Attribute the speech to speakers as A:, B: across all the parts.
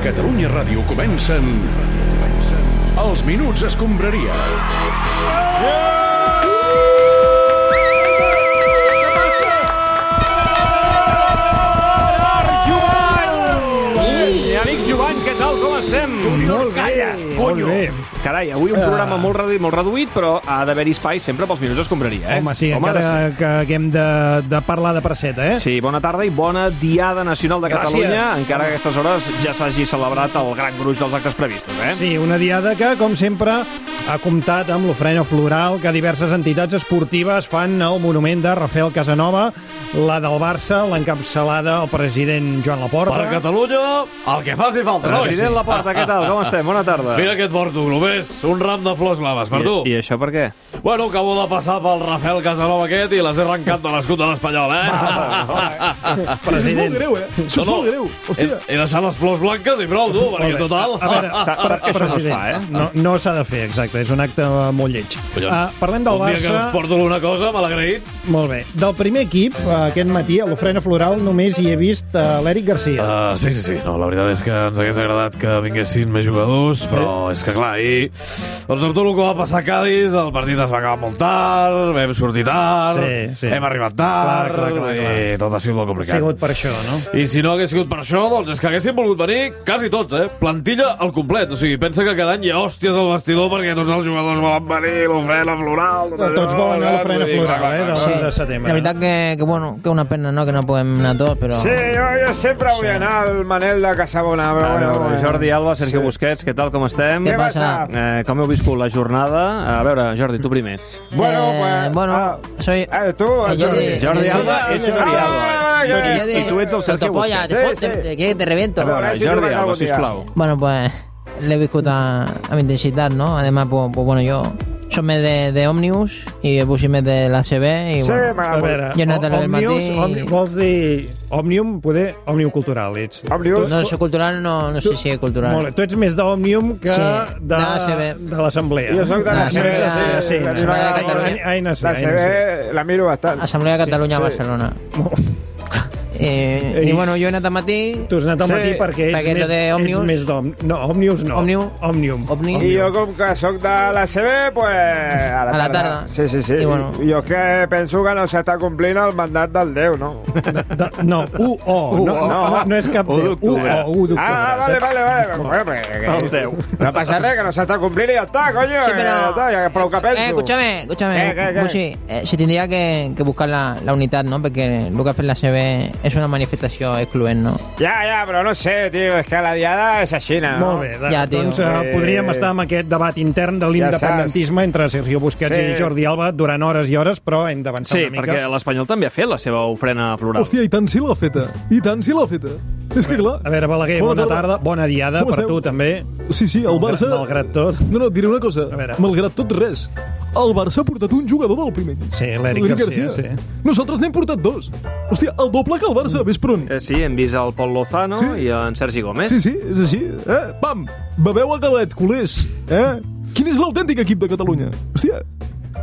A: Catalunya Ràdio comencen... comencen... Els Minuts Escombraria.
B: I amic Joan, què tal, com estem?
C: Molt calla,
B: Molt bé. Carai, avui un programa molt reduït, molt reduït, però ha d'haver-hi espai sempre pels minuts d'escombraria, eh?
C: Home, sí,
B: ha
C: encara
B: de ser.
C: que, que hem de, de parlar de presseta, eh?
B: Sí, bona tarda i bona Diada Nacional de
C: Gràcies.
B: Catalunya, encara que a aquestes hores ja s'hagi celebrat el gran gruix dels actes previstos, eh?
C: Sí, una diada que, com sempre, ha comptat amb l'ofrena floral que diverses entitats esportives fan al monument de Rafael Casanova, la del Barça, l'encapçalada al president Joan Laporta.
D: Per Catalunya, el que faci falta, nois.
B: President Laporta, què tal, com estem? Bona tarda.
D: Mira què et porto, només un ram de flors blaves per tu.
B: I, I això per què?
D: Bueno, acabo de passar pel Rafael Casanova aquest i les he arrencat de l'escut de l'Espanyol, eh?
C: president.
E: greu, eh? Això és molt greu.
D: He,
E: Hòstia.
D: he deixat les flors blanques i prou, tu, perquè total...
C: A veure,
B: Sap- sap que això no es
C: president,
B: fa, eh?
C: No, no s'ha de fer, exacte. És un acte molt lleig.
D: Collons.
C: Uh, parlem del
D: Un dia que
C: Barça...
D: us porto una cosa, malagraïts.
C: Molt bé. Del primer equip, eh, aquest matí, a l'ofrena floral, només hi he vist eh, l'Eric Garcia.
D: Uh, sí, sí, sí. No, la veritat és que ens hagués agradat que vinguessin més jugadors, però és que, clar, ahir... Doncs amb tot el que va passar a Cádiz, el partit es va acabar molt tard, vam sortir tard,
C: Sí, sí.
D: hem arribat tard...
C: Clar, clar, clar, clar.
D: I tot ha sigut molt
C: ha
D: complicat.
C: sigut per això, no?
D: I si no hagués sigut per això, doncs és que haguessin volgut venir quasi tots, eh? Plantilla al complet. O sigui, pensa que cada any hi ha hòsties al vestidor perquè tots els jugadors volen venir, l'ofrena floral... Tot
C: Tots
D: allò,
C: volen anar a l'ofrena
D: vull dir, clar,
C: floral,
D: clar,
C: eh, del
D: clar.
C: 6 de
F: La
C: setembre.
F: veritat que, que bueno, que una pena, no?, que no podem anar tots, però...
G: Sí, jo, jo sempre vull anar al Manel de Casabona, però
B: Ah,
G: bueno...
B: no,
G: eh,
B: Jordi Alba, Sergio Busquets, què tal, com estem?
G: Què
F: Què
G: passa?
F: passa?
B: Eh, com heu viscut la jornada? A veure, Jordi, tu primer.
G: Bueno, pues...
F: Eh, bueno, soy...
G: Eh, tu,
F: Eh, jo
G: Jordi.
F: dic-
B: Jordi Alba és Jordi
G: Ah,
B: Alba.
G: ja, ja,
F: yo
G: ja.
B: I tu ets el Sergio
F: Topolla,
B: Busquets.
F: te,
G: Sí,
F: fot-
G: sí.
F: te- que te reviento.
B: A veure,
G: si
B: Jordi
G: trobes
B: Alba,
G: algun dia.
B: sisplau.
F: Bueno, pues le he viscut a, a mi intensitat, no? Además, pues, pues bueno, yo... Som de, de Òmnibus i pusimos de la CB i
G: Sí,
F: bueno...
G: m'agrada
C: A
G: molt.
C: veure,
F: Jo he anat a l'hora del
C: Òmniums,
F: matí i-
C: Òmnium, vols dir Òmnium, poder Òmnium cultural, ets.
G: Òmnium.
F: No, això cultural no, no sé si és cultural.
C: Molt bé, tu ets més d'Òmnium que
F: Sí,
C: de,
F: de l'ACB.
C: de l'assemblea.
G: Jo soc de
F: Ah,
G: l'ACB.
F: sí,
G: sí,
F: sí,
G: eh, la
F: sí,
G: meva-
F: de Catalunya.
C: Ai, ai, no sé,
G: La
C: ai, no sé.
G: CB la miro bastant.
F: Assemblea de Catalunya a Barcelona. Eh,
C: Ei.
F: I bueno, jo he anat a matí...
C: Tu has anat al
G: Sí,
C: matí perquè ets
F: perquè
C: més,
F: de
C: ets
F: Òmniums.
C: més d'Òmnium. No, Òmniums no.
F: Òmnium.
C: Òmnium.
F: Òmni.
G: I jo, com que sóc de la CB, pues... A la,
F: A la tarda.
G: Sí, sí, sí.
F: I bueno.
G: Jo és que penso que no s'està complint el mandat del Déu, no?
C: De, no, U-O. No, no, no, no és cap
B: U
C: Déu. U-O,
B: d'octubre.
C: U d'octubre.
G: Ah, vale,
C: saps?
G: vale, vale. Bueno, pues, que-
B: El teu.
G: No passa res, que no s'està complint i ja està, coño.
F: Sí, pero...
G: Ja està, ja prou que penso.
F: Eh, escúchame, escúchame.
G: ¿Qué, qué, qué?
F: Bushi, eh, se tendría que, que buscar la, la unidad, ¿no? Porque lo que hace la CB es una manifestación excluyente, ¿no?
G: Ja, ja, però no sé, tio, és que la diada és així, no?
C: Molt bé,
F: Ja,
C: ja,
F: tio.
C: doncs eh,
G: Eh.
C: podríem estar amb aquest debat intern de l'independentisme entre Sergio Busquets
G: Sí.
C: i Jordi Alba durant hores i hores, però hem d'avançar
B: Sí,
C: una mica.
B: perquè l'Espanyol també ha fet la seva ofrena floral.
E: Hòstia, i tant sí l'ha feta. I tant sí l'ha feta. És que clar...
C: A veure, Balaguer, bona, tarda. bona diada
E: Com
C: per
E: esteu?
C: tu també.
E: Sí, sí, el Barça...
C: Malgrat tot.
E: No, no, et diré una cosa.
C: A veure.
E: Malgrat tot res. El Barça ha portat un jugador del primer equip.
C: Sí, l'Eric Garcia,
E: Nosaltres n'hem portat dos. Hòstia, el doble que el
C: Mm.
E: Barça, ves pron.
B: Eh, sí, hem vist el Pol Lozano
E: Sí.
B: i en Sergi Gómez.
E: Sí, sí, és així. Eh? Pam! Beveu a galet, culers. Eh? Quin és l'autèntic equip de Catalunya? Hòstia,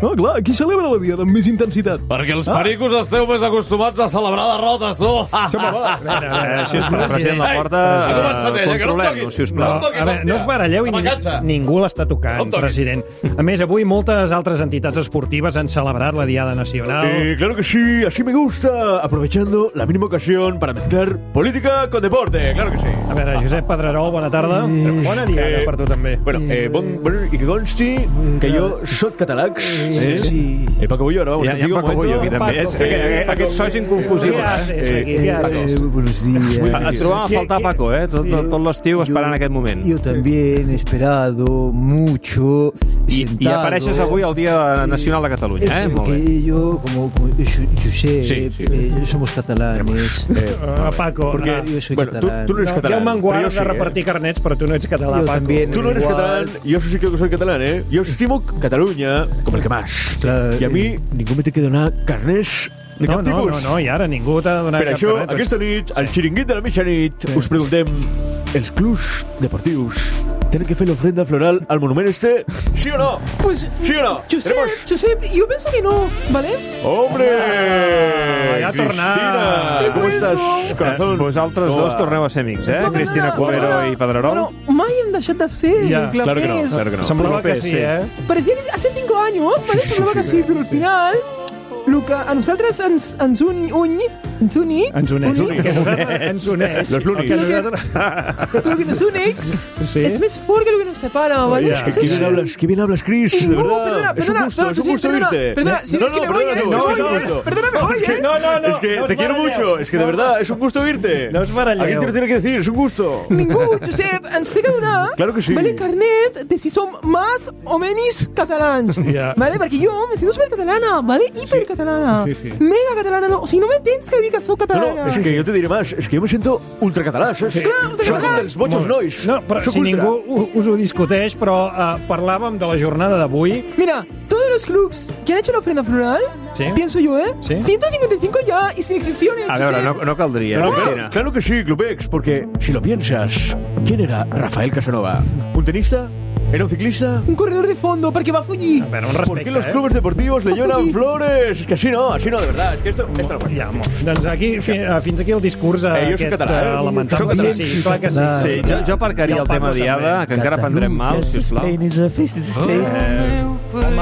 E: no, clar, aquí celebra la diada amb més intensitat.
D: Perquè els
C: Ah.
D: pericos esteu més acostumats a celebrar derrotes, tu.
E: Se me va.
C: Ah,
G: Ah,
C: A veure, a
B: Eh,
C: veure,
B: sisplau, president Laporta,
D: Ei, ha començat
B: eh,
D: ella, que no em
B: controlem-nos,
D: toquis.
B: sisplau.
D: No em toquis,
C: a veure, no us
D: hòstia.
C: baralleu i
D: Se
C: ningú,
D: m'enganxa.
C: ningú l'està
D: No
C: tocant,
D: em toquis.
C: president. A més, avui moltes altres entitats esportives han celebrat la Diada Nacional.
D: Eh, claro que sí, así me gusta, aprovechando la mínima ocasión para mezclar política con deporte, claro que sí.
C: A veure, Josep Pedrerol, bona tarda. Bona diada
D: Eh,
C: per tu també.
D: Bueno, eh, bon, bueno, y que consti que yo soy catalax. Eh, Eh, Paco Bullo, ahora vamos
B: Hi ha, hi ha
D: contigo un
B: Paco Bullo aquí
D: momento.
B: també. És, aquest, aquest soci inconfusible.
C: Què
B: Eh?
C: haces aquí? Què haces?
H: buenos
C: Ah,
B: Et
H: días.
B: trobava a faltar
C: Qui- qui-
B: Paco, eh? Tot, tot, tot l'estiu esperant aquest moment.
H: Yo también he esperado mucho.
B: I, I
H: sentado.
B: apareixes avui al Dia Nacional de
H: Es
B: Catalunya, eh? Molt bé.
H: que yo, eh, como José,
D: Sí, sí.
H: somos catalanes.
C: Ah, Paco, ah,
H: Yo soy
D: Bueno, tú,
H: catalán.
D: tú no eres
C: no, ja
D: catalán.
C: ho
D: però
C: manguares
D: jo
C: de
D: sí, eh.
C: repartir carnets, però tu no ets català,
H: Jo
C: Paco.
H: també.
D: Tú no eres
H: Igual.
D: catalán, yo sí que soy catalán, ¿eh? Yo estimo Cataluña como el que más.
H: Clar,
D: y a mí
H: eh.
D: ningún me te quedó nada carnés de
C: No,
D: cap
C: no,
D: tipus.
C: no, no, i ara ningú t'ha donat
D: Per
C: cap
D: això,
C: carnet.
D: aquesta nit, al xiringuit de la mitjanit, us preguntem els clubs deportius tienen que hacer la ofrenda floral al monumento este? ¿Sí o no?
I: Pues,
D: ¿Sí o no?
I: Josep,
D: Tenemos-
I: Josep, yo pienso que no, ¿vale?
D: ¡Hombre!
B: Eh,
C: ya ha
D: Cristina,
C: tornat.
D: ¿Cómo estás, corazón?
B: Vosaltres
D: Hola.
B: dos torneu a ser amics, eh?
I: No, no, no,
B: Cristina
I: no,
B: Cuadrero
I: no, no.
B: i Pedrerol.
I: Bueno, mai hem deixat de ser,
C: Ja,
I: clar,
D: Claro
I: que
D: que no,
I: és.
D: claro que no.
C: Semblava que sí, eh?
I: Parecía que hace cinco años, ¿vale? Semblava que sí, però al final... Lo que a nosaltres ens, ens un, uny, ens uni,
C: Ens uneix. Que nosaltres Ens uneix.
D: Los lunis.
C: El que nosaltres-
I: lo que nos uneix
C: Sí.
I: és més fort que lo que nos separa, ¿vale?
C: Oye,
I: És
D: Qué
C: Sí.
D: bien
I: així.
D: hablas, qué bien hablas, Chris, de
I: No,
D: verdad.
I: perdona,
D: es un
I: perdona,
D: gusto,
I: perdona,
D: es un
I: sí,
D: gusto
I: perdona,
D: irte.
I: perdona, si
D: no,
I: es que
D: no,
I: me voy,
D: perdona,
I: eh,
D: no,
I: me
D: es que
I: voy,
D: no,
I: eh,
D: no.
I: perdona, me voy, eh.
C: No, no, no.
D: Es que
C: no
D: te
C: us
D: quiero
C: baralleu.
D: mucho, es que de verdad es un gusto irte.
C: No os baralleu.
D: Alguien te lo tiene que decir, es un gusto.
I: Ningú, Josep, ens té que donar
D: Claro que sí.
I: vale, carnet de si som més o menys catalans.
C: Ja.
I: Vale? Perquè jo me sento supercatalana, vale? hipercatalana,
C: Sí, sí.
I: mega catalana. No. O sigui, no me tens que dir que sóc
D: No,
I: catalana.
D: no, es que yo te diré más, es que yo me siento ultracatalà,
J: ¿eh?
D: saps?
I: Clar,
D: Sóc un
I: ultracatalà.
D: dels boixos nois.
C: No, però
D: Sóc
C: si
D: ultra.
C: ningú u- us ho discuteix, però eh, parlàvem de la jornada d'avui.
I: Mira, todos los clubs que han hecho la ofrenda floral,
C: Sí.
I: pienso yo, ¿eh?
C: Sí.
I: 155 ya y sin excepciones.
B: A veure,
I: Josep.
B: no, no caldria,
D: Claro,
B: Cristina.
D: claro, claro que sí, Clubex, porque si lo piensas, ¿quién era Rafael Casanova? ¿Un tenista? ¿Era un ciclista?
I: Un corredor de fondo, porque va a fugir.
C: A veure, un
D: ¿Por qué
C: respecte,
D: los
C: eh?
D: clubes deportivos le lloran
I: Ojo.
D: flores? Es que así no, así no, de verdad. Es que esto, esto no
C: Ja, mo- doncs aquí, fi, eh, fins aquí el discurs eh,
D: Eh, jo soc
C: aquest
D: català, eh?
C: eh,
D: Soc
C: lamentable.
D: català.
C: Sí, sí, clar que sí.
H: Sí,
B: Sí, jo, jo aparcaria el tema diada, que encara prendrem mal, si us plau.
D: Ah.
C: Home,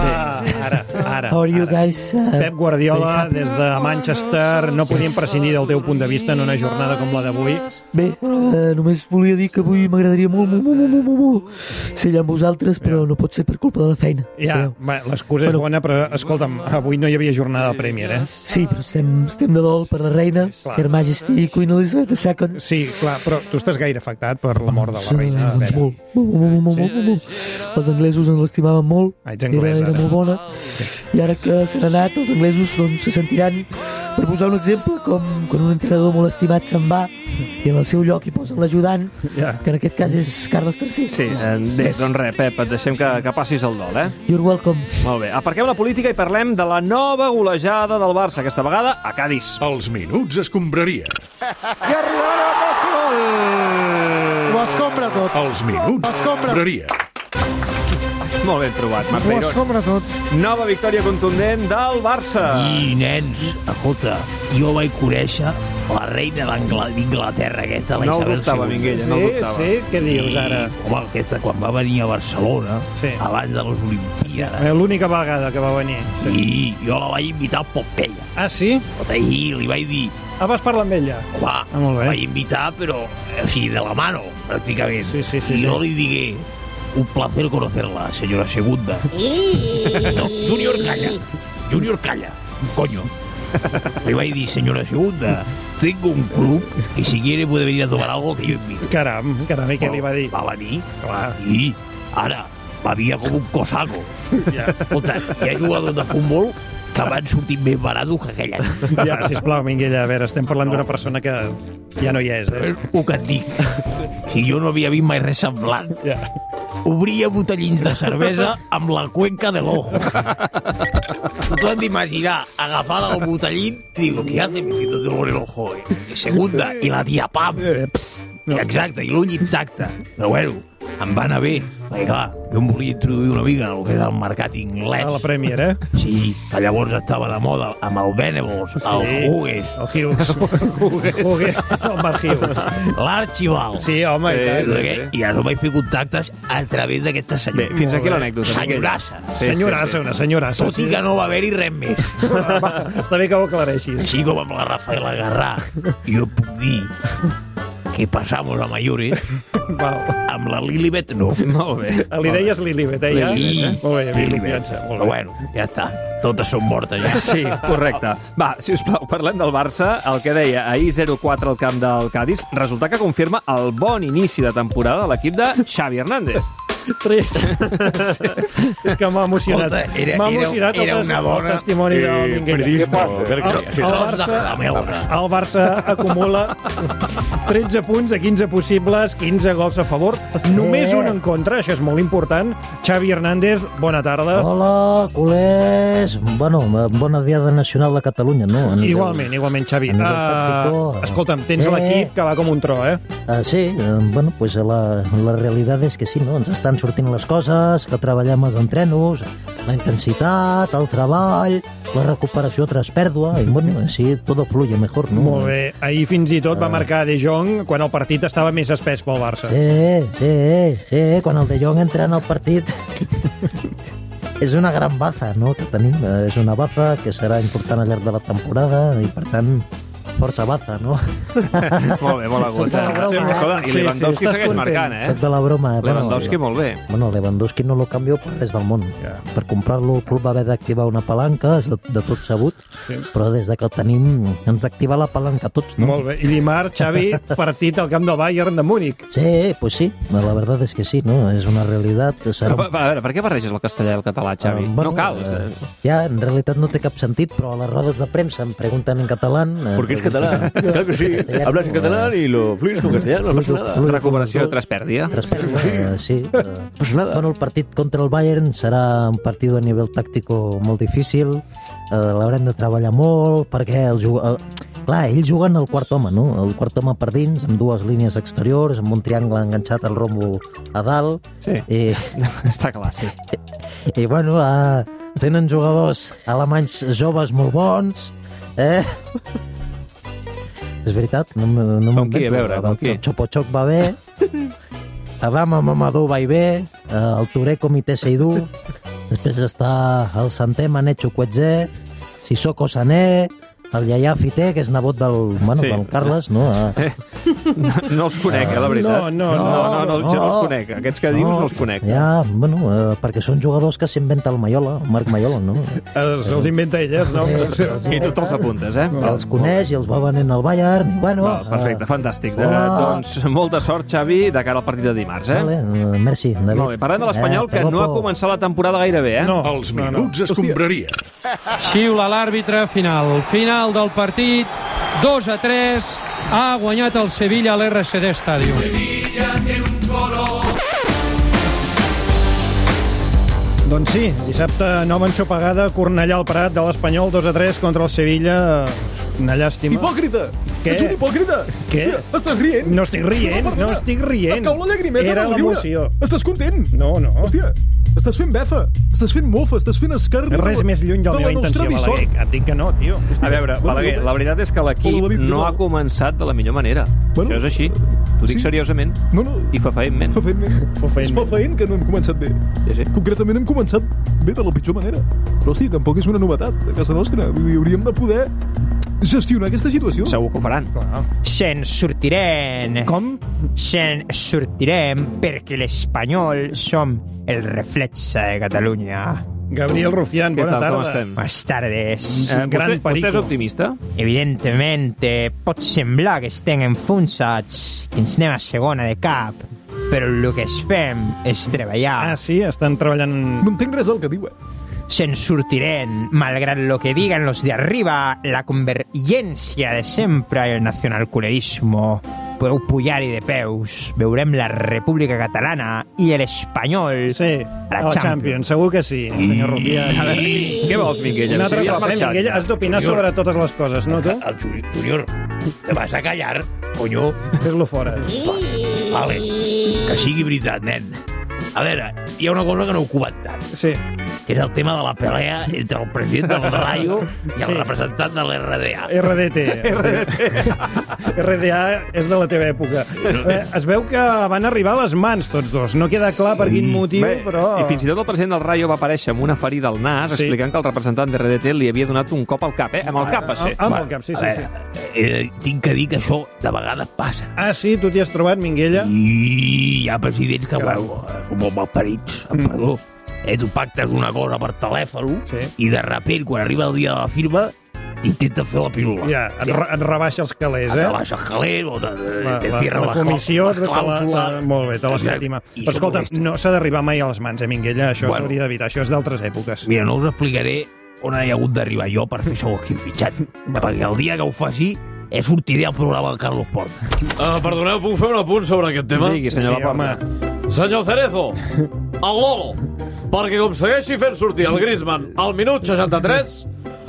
C: ara, ara.
H: How are you
C: ara.
H: guys? uh,
C: Pep Guardiola, des de Manchester, no podíem prescindir del teu punt de vista en una jornada com la d'avui.
H: Bé, eh, només volia dir que avui m'agradaria molt, molt, molt, molt, molt, molt, ser allà amb vosaltres, però no pot ser per culpa de la feina.
C: Ja,
H: sabeu.
C: va, l'excusa és bona, però escolta'm, avui no hi havia jornada de Premier, eh?
H: Sí, però estem, estem de dol per la reina,
C: Clar.
H: Her Majesty Queen Elizabeth II.
C: Sí, clar, però tu estàs gaire afectat per la mort de la
H: Sí,
C: reina. eh?
H: doncs
C: Vera.
H: molt, molt, molt, molt, molt, molt, molt, molt. Els anglesos ens l'estimaven molt,
C: Ah, ets
H: era,
C: anglesa,
H: era
C: ara.
H: molt bona, i ara que se n'ha anat, els anglesos doncs, se sentiran, per posar un exemple, com quan un entrenador molt estimat se'n va i en el seu lloc hi posen l'ajudant,
C: Ja.
H: que en aquest cas és Carles III.
B: Sí, eh, bé, doncs res, Pep, et deixem que, que passis el dol, eh?
H: You're welcome.
B: Molt bé, aparquem la política i parlem de la nova golejada del Barça, aquesta vegada a Cádiz.
A: Els minuts escombraria.
K: Ho escombra tot,
A: Els minuts escombraria.
B: Molt ben trobat, Marc
K: ho
B: Peirón.
K: escombra tot.
B: Nova victòria contundent del Barça.
J: I, nens, escolta, jo vaig conèixer la reina d'Angla- d'Inglaterra, aquesta, la
B: No ho
J: Isabel
B: dubtava,
J: II.
B: Minguella, no ho
C: Sí,
B: dubtava.
C: sí, què dius ara?
J: I, home, aquesta, quan va venir a Barcelona,
C: Sí.
J: abans de les Olimpíades,
C: Eh, L'única vegada que va venir. Sí.
J: i jo la vaig invitar al Pompeia.
C: Ah, sí?
J: I li vaig dir,
C: Ah, vas parlar amb ella?
J: home,
C: Ah, molt bé.
J: la vaig invitar, però, o sigui, de la mano, pràcticament.
C: Sí, sí, sí,
J: I
C: sí.
J: jo li digué, un placer conocerla, senyora Segunda. no, Junior, calla. Junior, calla. Coño. Le vaig dir, senyora Segunda, tengo un club que si quiere puede venir a tomar algo que yo invito.
C: Caram, caram, i què li va dir?
J: Va venir
C: Clar.
J: i ara bevia com un cosaco. Ja. Escolta, hi ha jugadors de futbol que van sortir més baratos que aquell any.
C: Ja, sisplau, Minguella, a veure, estem parlant d'una persona que ja no hi és, eh?
J: És el que et dic. Si jo no havia vist mai res semblant.
C: Ja.
J: Obria botellins de cervesa amb la cuenca de l'ojo. Tu t'ho has d'imaginar, agafar el botellín i digo, ¿qué hace metiendo dolor en el ojo? eh?" Segunda, i la tia pam. No. Exacte, i l'ull intacte. Però bueno, em va anar bé. Perquè clar, jo em volia introduir una mica en el que era el mercat
C: A la
J: anglès.
C: Premier, eh?
J: Sí, que llavors estava de moda amb el Venables, el Hughes,
C: El Hughes. Hughes. El Mark Hughes.
J: l'Archibald.
C: Sí, home, i
J: Eh,
C: tant.
J: no sé què, I ara vaig fer contactes a través d'aquesta
B: Bé,
J: senyora.
B: fins aquí l'anècdota.
J: Senyorassa.
B: Sí,
C: Senyorassa,
B: sí, sí.
C: una senyorassa.
J: Tot i que no va haver-hi res més.
C: Va, està bé que ho aclareixis.
J: Així com amb la Rafaela Garrà, jo puc dir que passamos a mayores
C: Va,
J: amb la Lilibet no.
B: Molt bé.
C: li deies Lilibet, eh? Ja?
J: I-
C: Molt bé,
J: Lilibet.
C: confiança, molt
J: Però
C: bé.
J: bueno, ja està. Totes són mortes ja.
B: Sí, correcte. Va, si us plau, parlem del Barça. El que deia, ahir 0-4 al camp del Cádiz, resultat que confirma el bon inici de temporada de l'equip de Xavi Hernández.
C: Trist. sí. És que m'ha emocionat.
J: Escolta, era-
C: M'ha
J: era-
C: emocionat
J: era
C: el,
J: una
C: tes-
J: dona-
C: el testimoni
J: Eh,
C: del Minguella.
J: periodismo,
C: El, el,
J: Bertran.
C: Barça, el Barça acumula 13 punts de 15 possibles, 15 gols a favor, només un en contra, això és molt important. Xavi Hernández, bona tarda.
J: Oh,
L: Hola, culers. Bueno, eh, bona diada nacional de Catalunya, no? En
C: Igualment, igualment, Xavi.
L: a nivell
C: Uh, escolta'm, tens
J: Eh?
L: Sí.
C: l'equip que va com un tro, eh?
L: Ah, sí, eh, bueno, pues la, la realitat és que sí, no? Ens estan sortint les coses, que treballem els entrenos, la intensitat, el treball, la recuperació tras pèrdua, i bueno, així tot fluye mejor, no?
C: Molt bé. Ahir fins i tot va marcar De Jong quan el partit estava més espès pel Barça.
L: Sí, sí, sí, quan el De Jong entra en el partit és una gran baza no, que tenim, Eh, és una baza que serà important al llarg de la temporada i per tant força baza, no?
B: Molt bé, molt a gust.
L: Sota la broma, eh?
B: Escolta, I
L: Sí,
B: Lewandowski
L: sí,
B: segueix
L: estàs
B: marcant,
L: content.
B: eh?
L: Sota la broma. Bueno,
B: Lewandowski,
L: jo-
B: molt bé.
L: Bueno, Lewandowski no lo canvio per res del món. Per comprar-lo el club va haver d'activar una palanca, és de, de tot sabut,
C: Sí.
L: però des de que el tenim ens activa la palanca a tots, no?
C: Molt bé. I dimarts, Xavi, partit al camp del Bayern de Múnich.
L: Sí, pues sí, la verdad és que sí, no? És una realitat, serà
B: Però, a veure, per què barreges el castellà i el català, Xavi?
L: Ah, bueno,
B: no cal.
L: eh, Ja, en realitat no té cap sentit, però a les rodes de premsa em pregunten en català... Eh,
M: Porque es catalán. Claro que sí. Hablas en catalán y lo fluyes con castellano, no pasa nada.
L: eh,
B: Recuperació tras pèrdua.
L: Tras pèrdua, eh, sí. Eh, bueno, el partit contra el Bayern serà un partit a nivell tàctic molt difícil, eh, l'haurem de treballar molt, perquè el jug... El... Clar, ells juguen al quart home, no? El quart home per dins, amb dues línies exteriors, amb un triangle enganxat al rombo a dalt.
B: Sí,
L: i...
B: està clar, sí.
L: I, bueno, eh, tenen jugadors alemanys joves molt bons, eh? És veritat, no, m- no m'ho
B: Com qui, a
L: invento.
B: veure, com
L: El
B: qui?
L: Chopo Choc va bé, Adama Mamadou va i bé, eh, el Touré Comité Seidú, després està el Santé Manecho Cuetzé, Sissoko Sané, el Yaya Fité, que és nebot del, bueno,
B: Sí.
L: sí. del Carles, no? Eh,
B: No els conec, eh, la veritat.
L: No, no,
B: no, no, no,
L: no.
B: jo no els conec. Aquests que dius no els conec.
L: ja, bueno, eh, perquè són jugadors que s'inventa el Maiola, el Marc Maiola, no? Eh,
C: Els, els inventa elles, no?
B: I tu te'ls apuntes, eh?
L: Els coneix i els va venent al Bayern, i bueno...
B: Val, perfecte, fantàstic. De,
L: Hola.
B: doncs molta sort, Xavi, de cara al partit de dimarts, eh?
L: Vale, eh, merci, David. Eh,
B: Molt bé, parlem de l'Espanyol, que no ha començat la temporada gaire bé, eh?
C: No,
A: Els minuts no, no. escombraria.
N: Xiula l'àrbitre, final. Final del partit, 2 a 3, ha guanyat el Sevilla a l'RCD Stadium.
C: Doncs sí, dissabte nova ensopegada, Cornellà al Prat, de l'Espanyol, 2 a 3 contra el Sevilla. Una llàstima.
E: Hipòcrita!
C: Què?
E: Ets un hipòcrita!
C: Què?
E: Hòstia, estàs rient?
C: No estic rient,
E: perdona.
C: no estic rient.
E: Et cau la llagrimeta
C: Era
E: del riure.
C: l'emoció.
E: Estàs content?
C: No, no.
E: Hòstia, estàs fent befa, estàs fent mofa, estàs fent escarni. de la-
C: Res més lluny de la meva intenció,
E: nostra
C: Balaguer.
E: dissort.
C: Et dic que no, tio.
B: A veure, Balaguer, la veritat és que l'equip no ha començat de la millor manera. Això és així. T'ho dic seriosament. I fafaentment.
E: És
B: Fafaentment.
E: fefaent que no hem començat bé.
B: Sí, sí.
E: Concretament hem començat bé de la pitjor manera. Però, hosti, tampoc és una novetat a casa nostra. Vull dir, hauríem de poder gestionar aquesta situació.
B: Segur que ho faran.
O: Se'n sortirem. Com? Se'n sortirem perquè l'espanyol som el reflexe de Catalunya.
C: Gabriel Rufián, Què bona tal, com tarda. estem?
O: Buenas tardes.
C: Eh, vostè- Gran perico. vostè és
B: optimista?
O: Evidentment, eh, pot semblar que estem enfonsats, que ens anem a segona de cap, però el que es fem és treballar.
C: Ah, sí? Estan treballant...
E: No entenc res del que eh? diuen.
O: Se'n sortirem, malgrat lo que digan los de arriba, la convergència de sempre i el nacionalculerismo. Podeu pujar-hi de peus, veurem la República Catalana i l'Espanyol sí, a la,
C: A la Champions, segur que sí, senyor Rufián.
O: I- A veure,
B: què vols, Minguella?
C: Un
B: Si
C: altre
B: havies
C: cop, eh,
B: marxat.
C: Minguella? Has d'opinar
B: Junior.
C: sobre totes les coses, no, tu?
J: El Juli- Junior, te vas a callar, coño.
C: Fes-lo fora.
J: Vale, que sigui veritat, nen. A veure, hi ha una cosa que no heu comentat.
C: Sí.
J: Que és el tema de la pelea entre el president del Rayo i el
C: Sí.
J: representant de l'RDA.
C: RDT. RDA és de la teva època. Eh, Es veu que van arribar a les mans tots dos. No queda clar per quin motiu,
B: Bé,
C: però...
B: I fins i tot el president del Rayo va aparèixer amb una ferida al nas
C: Sí.
B: explicant que el representant de RDT li havia donat un cop al cap, eh? Amb el cap, va ser.
C: Ah, amb el cap, sí, sí,
B: A
C: sí.
B: veure,
J: Eh, tinc que dir que això de vegades passa.
C: Ah, sí? Tu t'hi has trobat, Minguella?
J: I hi ha presidents que, bueno, són molt malparits,
C: Mm.
J: amb perdó. Eh, tu pactes una cosa per telèfon sí. i de repent, quan arriba el dia de la firma, intenta fer la pílula.
C: Ja, et, re, et rebaixa els calés, eh?
J: Et rebaixa els calés o te- te- te cierra
C: la,
J: la
C: la
J: clau-
C: comissió,
J: la
C: te la, la,
J: clàusula.
C: molt bé, te
J: Exacte.
C: l'estima.
J: I això
C: Escolta,
J: molesta.
C: no s'ha d'arribar mai a les mans, eh, Minguella? Això
J: Bueno.
C: s'hauria d'evitar, això és d'altres èpoques.
J: Mira, no us explicaré on he hagut d'arribar jo per fer segons quin fitxat. perquè el dia que ho faci, eh, sortiré al programa del Carlos Port.
D: Uh, perdoneu, puc fer un apunt sobre aquest tema?
J: Digui, senyor Sí, Laporta.
D: Senyor Cerezo, el gol. Perquè com segueixi fent sortir el Griezmann al minut 63,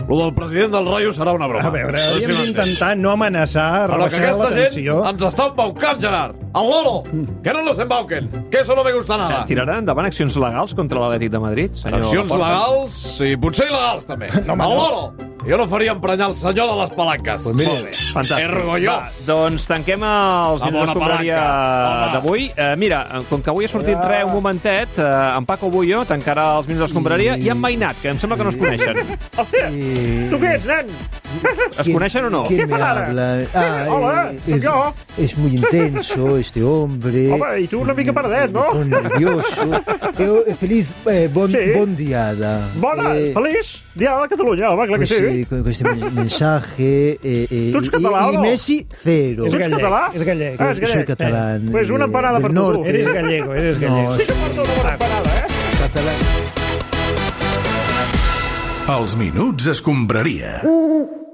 D: el del president del Rayo serà una broma. Doncs
C: A veure,
D: No sé si
C: hauríem
D: m'entén.
C: d'intentar no amenaçar,
D: Però que
C: rebaixar la
D: aquesta gent
C: tensió.
D: ens està embaucant, Gerard. Al loro,
B: Mm.
D: que no nos embauquen, que eso no me gusta nada.
B: Tiraran endavant accions legals contra l'Atlètic de Madrid, senyor
D: Accions
B: Laporta?
D: legals i potser il·legals, també. No,
B: home,
D: Al
B: no.
D: loro, jo no faria emprenyar el senyor de les palanques.
B: Pues mira,
D: Molt bé.
B: fantàstic.
D: Ergo jo.
B: Va, doncs tanquem els minuts
D: Amb una
B: d'escombraria
D: palanca.
B: d'avui. Eh, mira, com que avui ha sortit re un momentet, eh, en Paco Bullo tancarà els minuts d'escombraria i en Mainat, que em sembla que no es coneixen.
P: Hòstia, tu què ets, nen?
B: Es coneixen o no?
P: Què
L: ¿Quién me
P: fan ara?
L: habla? Ah,
P: Hola,
L: eh,
P: sóc
L: es,
P: jo.
L: es muy intenso este hombre.
P: Home, i tu una mica perdet, no?
L: Muy nervioso. Eh, eh, feliz eh, bon, bon diada.
P: Bona,
L: Eh,
P: feliç, dia de Catalunya, home, clar que
L: pues,
P: sí.
L: eh, con este men- mensaje. Eh, eh,
P: Tu ets
L: y-
P: català
L: y,
P: o no?
L: Messi, cero.
P: Tu ets català? Ah, és
L: Soy
P: gallec.
L: catalán.
P: Pues una
L: eh,
P: empanada
L: del
P: per tu.
L: norte.
P: Eres gallego, eres
L: No,
P: gallego.
L: sí,
A: Els minuts escombraria.